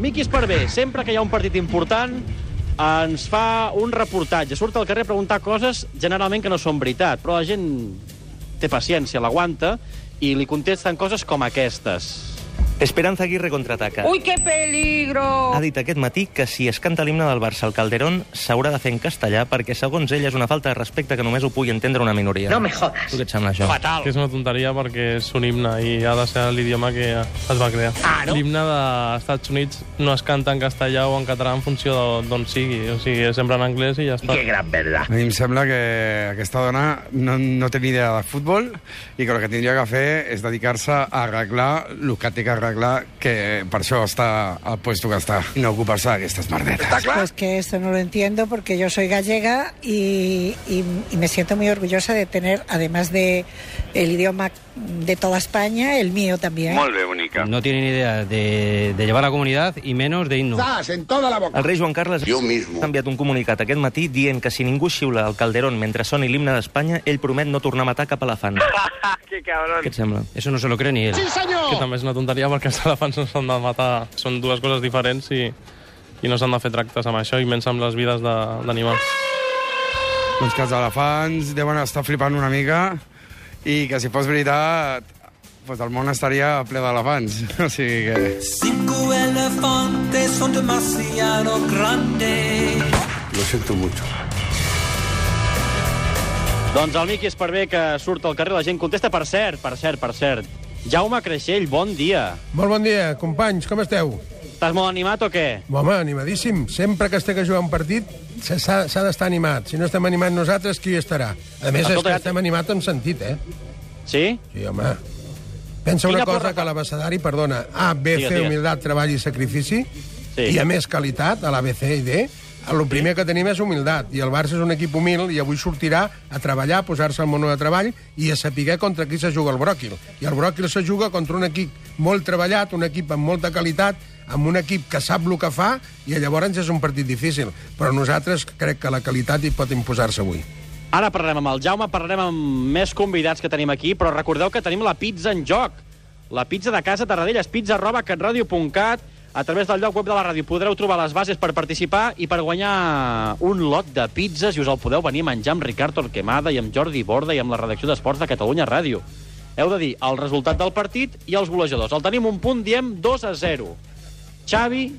Miqui Esparvé, sempre que hi ha un partit important, ens fa un reportatge. Surt al carrer a preguntar coses, generalment que no són veritat, però la gent té paciència, l'aguanta, i li contesten coses com aquestes. Esperanza Aguirre contraataca. ¡Uy, qué peligro! Ha dit aquest matí que si es canta l'himne del Barça al Calderón s'haurà de fer en castellà perquè, segons ell, és una falta de respecte que només ho pugui entendre una minoria. No me jodas. Tu què et sembla, això? Fatal. Que és una tonteria perquè és un himne i ha de ser l'idioma que es va crear. Ah, no? L'himne dels Estats Units no es canta en castellà o en català en funció de- d'on sigui. O sigui, és sempre en anglès i ja està. ¡Qué gran verdad! A mi em sembla que aquesta dona no, no té ni idea de futbol i que el que tindria que fer és dedicar-se a arreglar el que té que arreglar, que per això està al puesto que està, i no ocupar-se d'aquestes merdetes. Pues que esto no lo entiendo porque yo soy gallega y, y- y me siento muy orgullosa de tener, además de el idioma de toda España, el mío también. No tienen idea de, de llevar la comunidad y menos de himno. El rei Joan Carles Jo mismo. ha enviat un comunicat aquest matí dient que si ningú xiula al Calderón mentre soni l'himne d'Espanya, ell promet no tornar a matar cap elefant. ¡Qué cabrón! Què et sembla? Eso no se lo cree ni él. Que també és una tonteria perquè els elefants no s'han de matar. Són dues coses diferents i, i no s'han de fer tractes amb això, i menys amb les vides de- d'animals. Doncs que els elefants deuen estar flipant una mica i que si fos veritat, doncs el món estaria ple d'elefants. O sigui que... Cinco elefantes son demasiado grandes. Doncs el Miqui Esparvé que surt al carrer, la gent contesta. Per cert, per cert, per cert. Jaume Creixell, bon dia. Molt bon dia, companys, com esteu? Estàs molt animat o què? Home, animadíssim. Sempre que es té que jugar un partit se- s'ha s'ha d'estar animat. Si no estem animats nosaltres, qui hi estarà? A més, és Escolta, que ja- estem animats en sentit, eh? Sí? Sí, home. Pensa Quina una cosa porra- que l'abecedari, perdona, A, B, Digues, C, digues. humilitat, treball i sacrifici, Sí. i a més qualitat, a la B, C i D, el primer que tenim és humilitat, i el Barça és un equip humil, i avui sortirà a treballar, a posar-se al mono de treball, i a saber contra qui se juga el bròquil. I el bròquil se juga contra un equip molt treballat, un equip amb molta qualitat, amb un equip que sap el que fa, i llavors és un partit difícil. Però nosaltres crec que la qualitat hi pot imposar-se avui. Ara parlarem amb el Jaume, parlarem amb més convidats que tenim aquí, però recordeu que tenim la pizza en joc. La pizza de casa Tarradellas, pizza arroba catradio.cat. A través del lloc web de la ràdio podreu trobar les bases per participar i per guanyar un lot de pizzas i us el podeu venir a menjar amb Ricard Torquemada i amb Jordi Borda i amb la redacció d'Esports de Catalunya Ràdio. Heu de dir el resultat del partit i els golejadors. El tenim un punt, diem 2 a 0. Xavi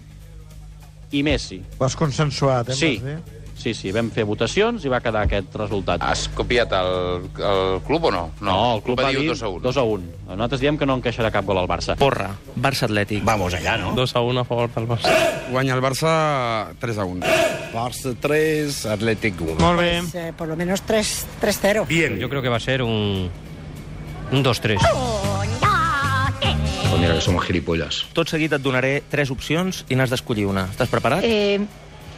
i Messi. Ho has consensuat, eh? Sí. Martí? Sí, sí, vam fer votacions i va quedar aquest resultat. Has copiat el, el club o no? No, el club va dir 2 a 1. 2 a 1. Nosaltres diem que no encaixarà cap gol al Barça. Porra, Barça Atlètic. Va. 2 a 1 a favor del Barça. Guanya el Barça 3 a 1. Barça 3, Atlètic 1. Molt bé. Pues, eh, por lo menos 3 3-0. Yo creo que va a ser un, un 2-3. Pues Oh, mira que som gilipolles. Tot seguit et donaré tres opcions i n'has d'escollir una. Estàs preparat? Eh,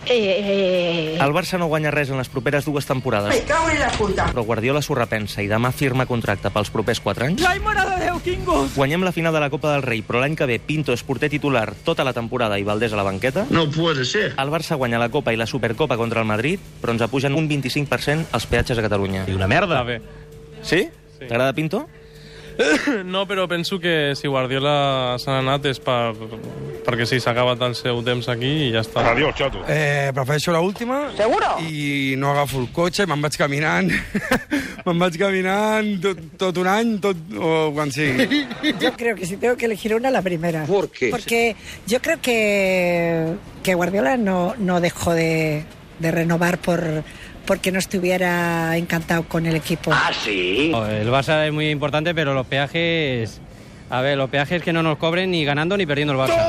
eh, eh, El Barça no guanya res en les properes dues temporades. Me cago en la puta. Però Guardiola s'ho repensa i demà firma contracte pels propers 4 anys. L'any mare de Déu, Quingo! Guanyem la final de la Copa del Rei, però l'any que ve Pinto és porter titular tota la temporada i Valdés a la banqueta. No puede ser. El Barça guanya la Copa i la Supercopa contra el Madrid, però ens apugen un 25% els peatges a Catalunya. Una merda. Està bé. Sí? Sí. T'agrada Pinto? No, però penso que si Guardiola s'ha anat és per, perquè sí, s'ha acabat el seu temps aquí i ja està. Adiós, xato. Eh, prefereixo l'última. Seguro? I no agafo el cotxe, me'n vaig caminant. me'n vaig caminant tot, tot un any, tot, o quan sigui. Yo creo que si tengo que elegir una, la primera. ¿Por qué? Porque yo creo que, que Guardiola no, no dejó de, de renovar por porque no estuviera encantado con el equipo. Ah, El Barça es muy importante, pero los peajes... A ver, los peajes que no nos cobren ni ganando ni perdiendo el Barça.